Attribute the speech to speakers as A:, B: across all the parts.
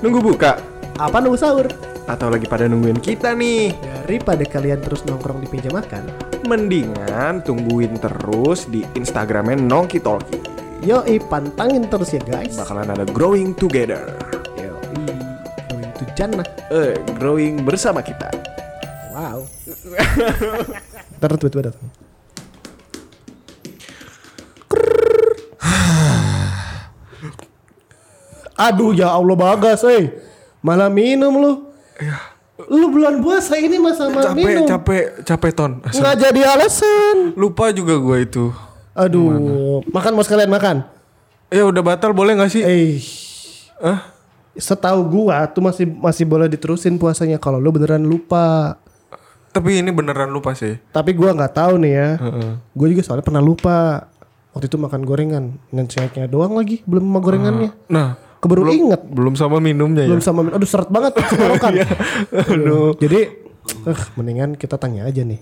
A: Nunggu buka?
B: Apa nunggu sahur?
A: Atau lagi pada nungguin kita nih?
B: Daripada kalian terus nongkrong di meja makan,
A: Mendingan tungguin terus di Instagramnya Nongki Talki.
B: yoi pantangin terus ya guys.
A: Bakalan ada growing together.
B: Yoi, going to jannah.
A: Eh, growing bersama kita.
B: Wow. Ntar tiba-tiba datang. Aduh ya Allah bagas, eh. Malah minum lu. Lu bulan puasa ini masa malah
C: Iya. capek
B: minum.
C: capek capek ton
B: Nggak jadi alasan.
C: lupa juga gue itu
B: Aduh, makan mau sekalian makan.
C: ya udah batal boleh nggak sih
B: Eh,
C: Hah?
B: setahu gua tuh masih masih boleh diterusin puasanya kalau lu beneran lupa.
C: tapi ini beneran lupa sih
B: Tapi gua nggak tahu nih ya. Gua juga soalnya pernah lupa. Waktu itu makan gorengan, dengan snacknya doang lagi, belum sama gorengannya.
C: nah
B: Kebaru inget,
C: belum sama minumnya
B: belum
C: ya
B: sama aduh seret banget tenggorokan.
C: Iya.
B: Aduh. Jadi, eh, mendingan kita tanya aja nih.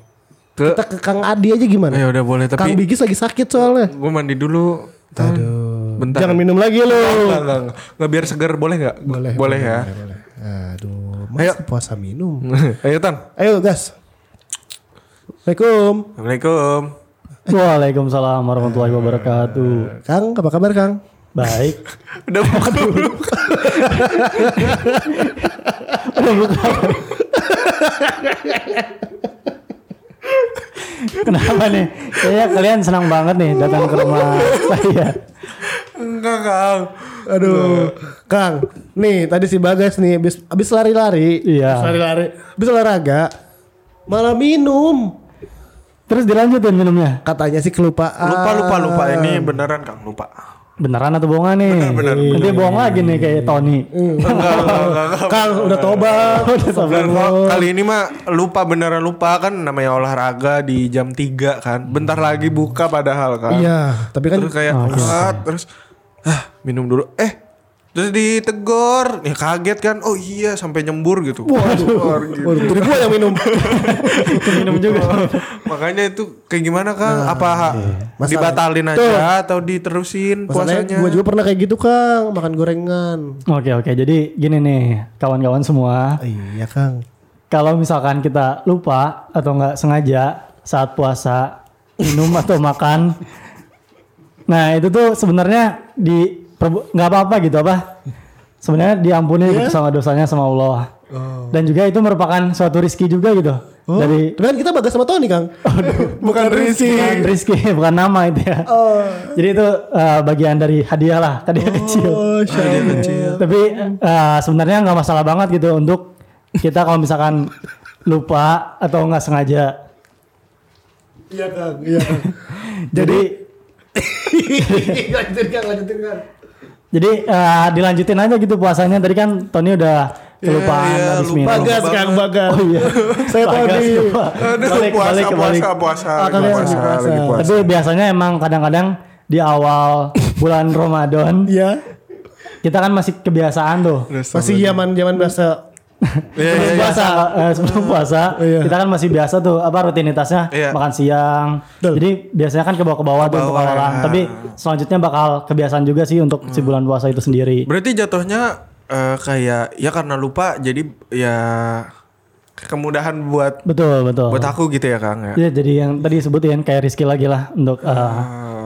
C: Ke-
B: Kita ke Kang Adi aja gimana?
C: ya udah boleh
B: Kang
C: Eh. tapi
B: Bigis lagi sakit soalnya.
C: gue mandi dulu Ton. bentar
B: Jangan minum lagi lu.
C: Nggak, nggak, nggak. Nggak, biar segar boleh nggak
B: Boleh.
C: boleh ya
B: boleh. Aduh, masih puasa minum.
C: ayo tan
B: Ayo gas. Assalamualaikum.
C: assalamualaikum
D: Waalaikumsalam warahmatullahi wabarakatuh.
B: Kang, apa kabar Kang?
D: Baik.
C: udah makan dulu
D: Kenapa nih? Kayaknya kalian senang banget nih datang ke rumah saya.
C: enggak kang
B: Aduh, Kang. Nih, tadi si Bagas nih abis, abis lari-lari.
D: Iya.
B: Abis lari-lari. Abis olahraga. Malah minum.
D: Terus dilanjutin minumnya.
B: Katanya sih kelupaan.
C: lupa lupa lupa ini beneran kang lupa
D: Beneran atau bohongan nih?
C: bener,
D: Nanti bohong lagi nih kayak Tony.
C: enggak enggak enggak, enggak.
B: Kang, udah tobat.
D: Udah sabar.
C: Beneran, Pak. kali ini mah lupa beneran lupa kan namanya olahraga di jam 3 kan. Bentar lagi buka padahal kan.
B: Iya, tapi kan
C: Terus kayak ah, terus ah, minum dulu. Eh, terus ditegor. Ya kaget kan. Oh iya sampai nyembur gitu. Keluar gitu.
B: Waduh, jadi gua yang minum.
D: minum juga.
C: Makanya itu kayak gimana Kang? Apa
B: Ah, iya. Masalah-
C: dibatalin aja
B: Tuh.
C: atau diterusin
B: Masalahnya
C: puasanya?
B: gua juga pernah kayak gitu, Kang, makan gorengan.
D: Oke oke. Jadi gini nih kawan-kawan semua.
B: Iya, Kang.
D: Kalau misalkan kita lupa atau nggak sengaja saat puasa minum atau makan, nah itu tuh sebenarnya di perbu- nggak apa-apa gitu apa? Sebenarnya diampuni gitu sama dosanya sama Allah. Dan juga itu merupakan suatu rizki juga gitu
B: Oh,
D: dari
B: tapi kan kita Bagas sama Tony, Kang.
C: bukan risi.
D: bukan rizki bukan nama itu ya. Jadi itu eh, bagian dari hadiah lah hadiah kecil.
B: Oh,
D: Iya. Tapi eh, sebenarnya nggak masalah banget gitu untuk kita kalau misalkan lupa atau nggak sengaja
B: Iya, Kang. Iya, Kang.
D: Jadi
B: lanjutin Kang, lanjutin Kang.
D: jadi eh, dilanjutin aja gitu puasanya. Tadi kan Tony udah kelupaan
C: iya,
D: habis
C: lupa.
D: minum.
B: Bagas Kang, Bagas.
D: Oh iya.
B: Saya
D: Bagas
B: tadi.
D: lupa.
C: Aduh,
D: Balik,
C: puasa,
D: balik, balik.
C: puasa, puasa,
B: Ah,
C: lagi
B: kalian
C: puasa,
B: puasa.
C: lagi puasa.
D: Tapi biasanya emang kadang-kadang di awal bulan Ramadan
B: Iya.
D: kita kan masih kebiasaan tuh.
B: Masih zaman-zaman bahasa
C: Iya, iya, iya.
D: Puasa eh, sebelum puasa
B: iya.
D: kita kan masih biasa tuh apa rutinitasnya
C: Iya.
D: makan siang.
B: Betul.
D: Jadi biasanya kan ke bawah ke bawah tuh untuk
C: Kebawah,
D: orang.
C: ya.
D: Tapi selanjutnya bakal kebiasaan juga sih untuk
C: Hmm.
D: si bulan puasa itu sendiri.
C: Berarti jatuhnya eh, kayak ya karena lupa jadi ya kemudahan buat
D: Betul, betul.
C: buat aku gitu ya Kang ya.
D: Ya jadi yang tadi sebutin kayak Rizky lagi lah untuk uh,
C: Ah.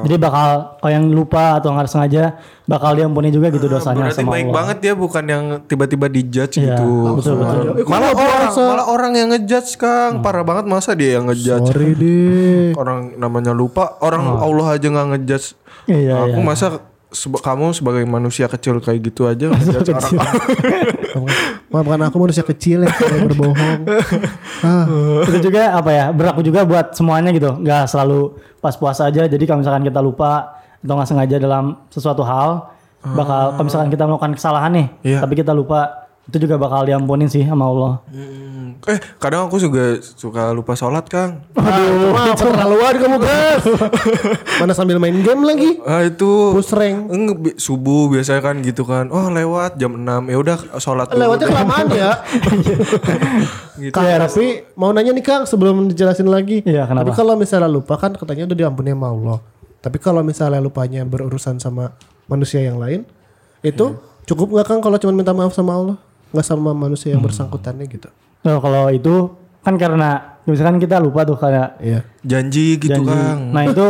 D: jadi bakal kalau yang lupa atau nggak sengaja bakal diampuni juga gitu
C: Ah,
D: dosanya
C: Berarti
D: sama
C: baik
D: Allah.
C: banget ya bukan yang tiba-tiba dijudge
D: Iya,
C: gitu.
D: betul, betul. Hmm.
C: Nah, Malah orang malah orang yang ngejudge Kang, parah banget masa dia yang ngejudge.
B: Sorry deh.
C: Orang namanya lupa, orang Allah aja nggak ngejudge.
D: Hmm. Iya,
C: aku
D: iya.
C: masa seba- kamu sebagai manusia kecil kayak gitu aja ngejudge orang.
B: Maafkan aku manusia kecil yang selalu berbohong. Ah,
D: Itu juga apa ya berlaku juga buat semuanya gitu. Nggak selalu pas puasa aja. Jadi kalau misalkan kita lupa atau nggak sengaja dalam sesuatu hal bakal kalau misalkan kita melakukan kesalahan nih,
C: Iya.
D: tapi kita lupa itu juga bakal diampunin sih sama Allah.
C: Hmm. Eh, kadang aku juga suka lupa sholat Kang.
B: Aduh, maaf keterlaluan kamu Bas. Mana sambil main game lagi?
C: Ah itu
B: Pusreng.
C: Eng, bi- subuh biasanya kan gitu kan. Oh, lewat jam 6. Ya udah sholat dulu.
B: Lewatnya kelamaan ya.
C: Gitu.
B: Kang, tapi mau nanya nih Kang sebelum dijelasin lagi.
D: Iya, kenapa?
B: Tapi kalau misalnya lupa kan katanya udah diampuni sama Allah. Tapi kalau misalnya lupanya berurusan sama manusia yang lain, itu Cukup nggak Kang kalau cuma minta maaf sama Allah? Nggak sama manusia yang bersangkutannya gitu.
D: Nah, kalau itu kan karena misalkan kita lupa tuh karena
B: Iya.
C: Janji gitu
D: janji.
C: Kang.
D: Nah itu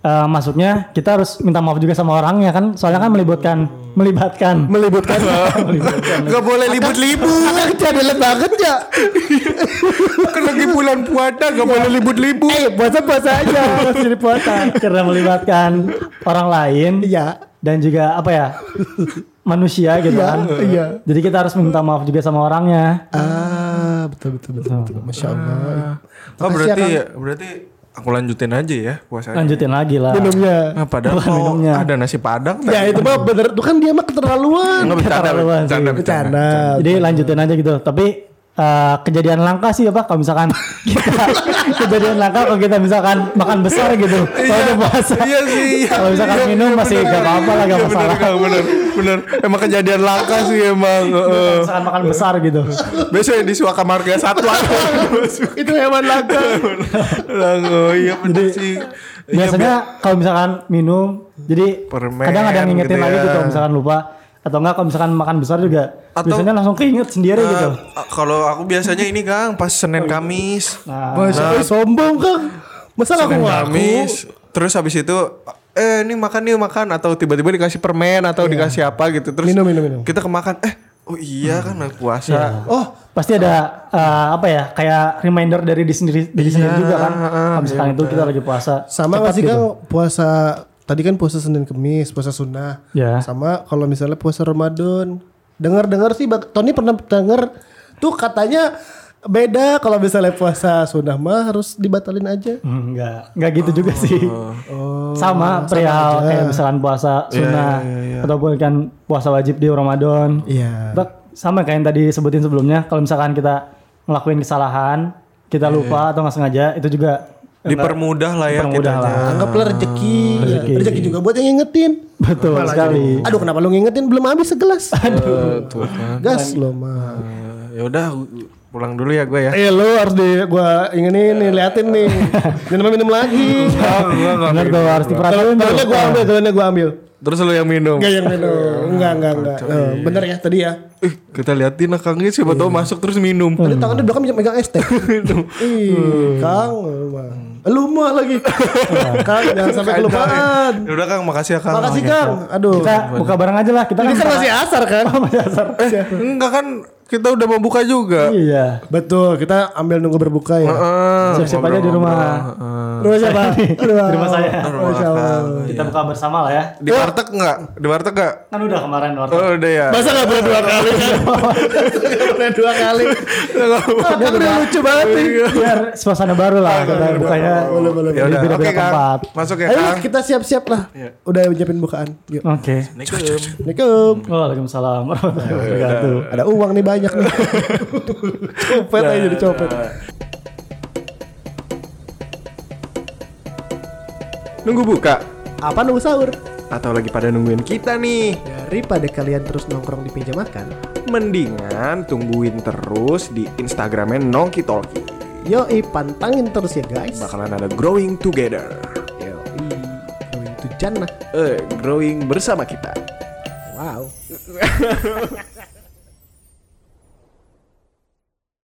D: eh, masuknya kita harus minta maaf juga sama orangnya kan, soalnya kan melibatkan, melibatkan.
B: Melibatkan.
D: Iya,
C: Gak boleh libut-libut.
B: Anak jadilah banget ya.
C: kan lagi bulan puasa gak boleh libut-libut.
B: Eh, puasa-puasa aja.
D: Iya, Harus jadi puasa karena melibatkan orang lain
B: Iya.
D: dan juga apa ya manusia gitu
B: Iya,
D: kan.
B: iya.
D: Jadi kita harus minta maaf juga sama orangnya.
B: Ah, betul betul betul. betul. Masya Allah.
C: Oh
B: Makasih
C: berarti
B: ya,
C: berarti aku lanjutin aja ya puasanya.
D: Lanjutin lagi lah.
B: Minumnya.
C: Nah, padahal
D: Bukan
C: kok
D: minumnya.
C: ada nasi padang.
B: Ya itu mah bener. Tuh kan dia mah keterlaluan.
C: Enggak bercanda,
D: Keterlaluan sih.
C: bercanda, bercanda.
B: Bercanda.
D: Jadi lanjutin aja gitu. Tapi eh, kejadian langka sih apa? Kalau misalkan
C: Iya.
D: kita kejadian langka kalau kita misalkan makan besar gitu. Kalau udah puasa.
C: Iya sih. iya.
D: Kalau misalkan
C: Iya,
D: minum
C: iya,
D: masih
C: bener.
D: gak apa-apa lah, gak
C: Iya, bener,
D: masalah.
C: Kang, Bener, bener. Emang kejadian langka sih emang. heeh.
D: Kalau misalkan
C: Iya.
D: makan besar gitu.
C: Besok yang di Suaka Marga satu aja.
B: Itu hewan laga.
C: Lang, oh iya bener sih. Iya,
D: Biasanya kalau misalkan minum, jadi
C: Permen
D: kadang ada yang ngingetin
C: gitu
D: lagi
C: ya.
D: gitu kalau misalkan lupa atau enggak kalau misalkan makan besar juga
C: Atau-
D: biasanya langsung keinget sendiri
C: Nah,
D: gitu.
C: kalau aku biasanya ini Kang pas
B: Oh,
C: Senin
B: iya.
C: Kamis.
D: Nah,
B: Masya Allah eh, sombong Kang. Masa aku
C: Senin
B: ngaku?
C: Kamis. Terus habis itu eh ini makan nih makan atau tiba-tiba dikasih permen atau dikasih apa gitu terus
B: Iya. Minum, minum, minum.
C: kita kemakan eh oh iya kan aku puasa
B: Oh,
D: pasti ada eh, apa ya kayak reminder dari diri sendiri diri
B: Iya,
D: sendiri juga kan.
B: eh,
D: Kalau misalkan itu kita lagi puasa.
B: sama nggak sih
D: gitu.
B: Kang puasa tadi kan puasa Senin Kemis, puasa sunnah.
D: Ya.
B: Sama kalau misalnya puasa Ramadan. Dengar-dengar sih Bang Tony pernah denger tuh katanya beda kalau misalnya puasa sunnah mah harus dibatalin aja.
D: Hmm, Enggak, enggak gitu
B: Oh.
D: juga sih. sama perihal
B: gitu, eh.
D: kayak misalkan puasa
B: Iya,
D: sunnah ataupun kan puasa wajib di Ramadan.
B: Iya.
D: Bak, sama kayak yang tadi sebutin sebelumnya, kalau misalkan kita ngelakuin kesalahan, kita
B: Iya,
D: lupa atau nggak sengaja, itu juga
C: dipermudah lah ya
D: Dipermudah
C: kitanya.
D: lah.
B: Anggaplah rezeki.
D: Rezeki.
B: Rezeki. juga buat yang ngingetin.
D: betul sekali.
B: Aduh kenapa lu ngingetin belum habis segelas. Aduh. Gas lo mah.
C: Eh, ya udah pulang dulu ya gue ya
B: Eh lo harus di gua inginin nih liatin nih. Jangan sampai minum lagi. Iya,
D: Benar tuh harus diperhatiin. tuh.
B: gitu. Kalau gua ambil, kalau gua ambil.
C: terus lu yang minum
B: Enggak yang minum.
D: Ah.
B: Enggak, enggak, enggak. Eh, bener ya tadi ya.
C: Ih, "Eh, kita liatin lah Kang siapa
B: Iya.
C: tau masuk terus minum
D: Hmm.
B: Tadi tangannya udah kan megang es teh. Ih, Kang, lu mah. Lu mah lagi.
D: Ah.
B: Kang jangan sampai kelupaan.
C: ya udah Kang makasih ya Kang
B: Makasih Kang. Aduh.
D: Kita buka bareng aja lah, kita
B: Ini kan masih asar kan?
D: masih asar.
C: enggak kan kita udah mau buka juga
D: Iya.
B: Betul, kita ambil nunggu berbuka ya.
C: Eh,
D: Siap-siap aja di rumah.
B: Rumah siapa?
D: Di rumah saya.
B: Masya Allah.
D: Kita buka bersama lah ya.
C: di warteg enggak di warteg enggak
D: Kan udah kemarin
B: Iya.
D: wartawan.
C: oh, udah ya
B: Masa gak boleh dua kali kan? Gak boleh dua kali. Ah, Kang udah lucu banget nih.
D: Iya. Biar suasana baru lah kita bukanya.
B: Boleh, boleh.
C: ya
D: Di
C: udah oke
D: beda-beda
C: Kang
D: tempat.
C: masuk ya
B: Ayo
C: Kang Iya.
B: kita siap-siap lah. Udah nyiapin bukaan. Yuk.
D: Oke.
B: Assalamualaikum.
D: Waalaikumsalam
B: Iya.
D: warahmatullahi wabarakatuh.
B: Ada uang nih banyak nih. copet aja jadi copet.
A: Nunggu buka
B: Apa nunggu sahur?
A: atau lagi pada nungguin kita nih.
B: Daripada kalian terus nongkrong di meja makan.
A: Mendingan tungguin terus di Instagramnya Nongki Talki.
B: Yoi pantangin terus ya guys.
A: Bakalan ada growing together.
B: Yoi. Going to Jannah.
A: Eh, growing bersama kita.
B: Wow.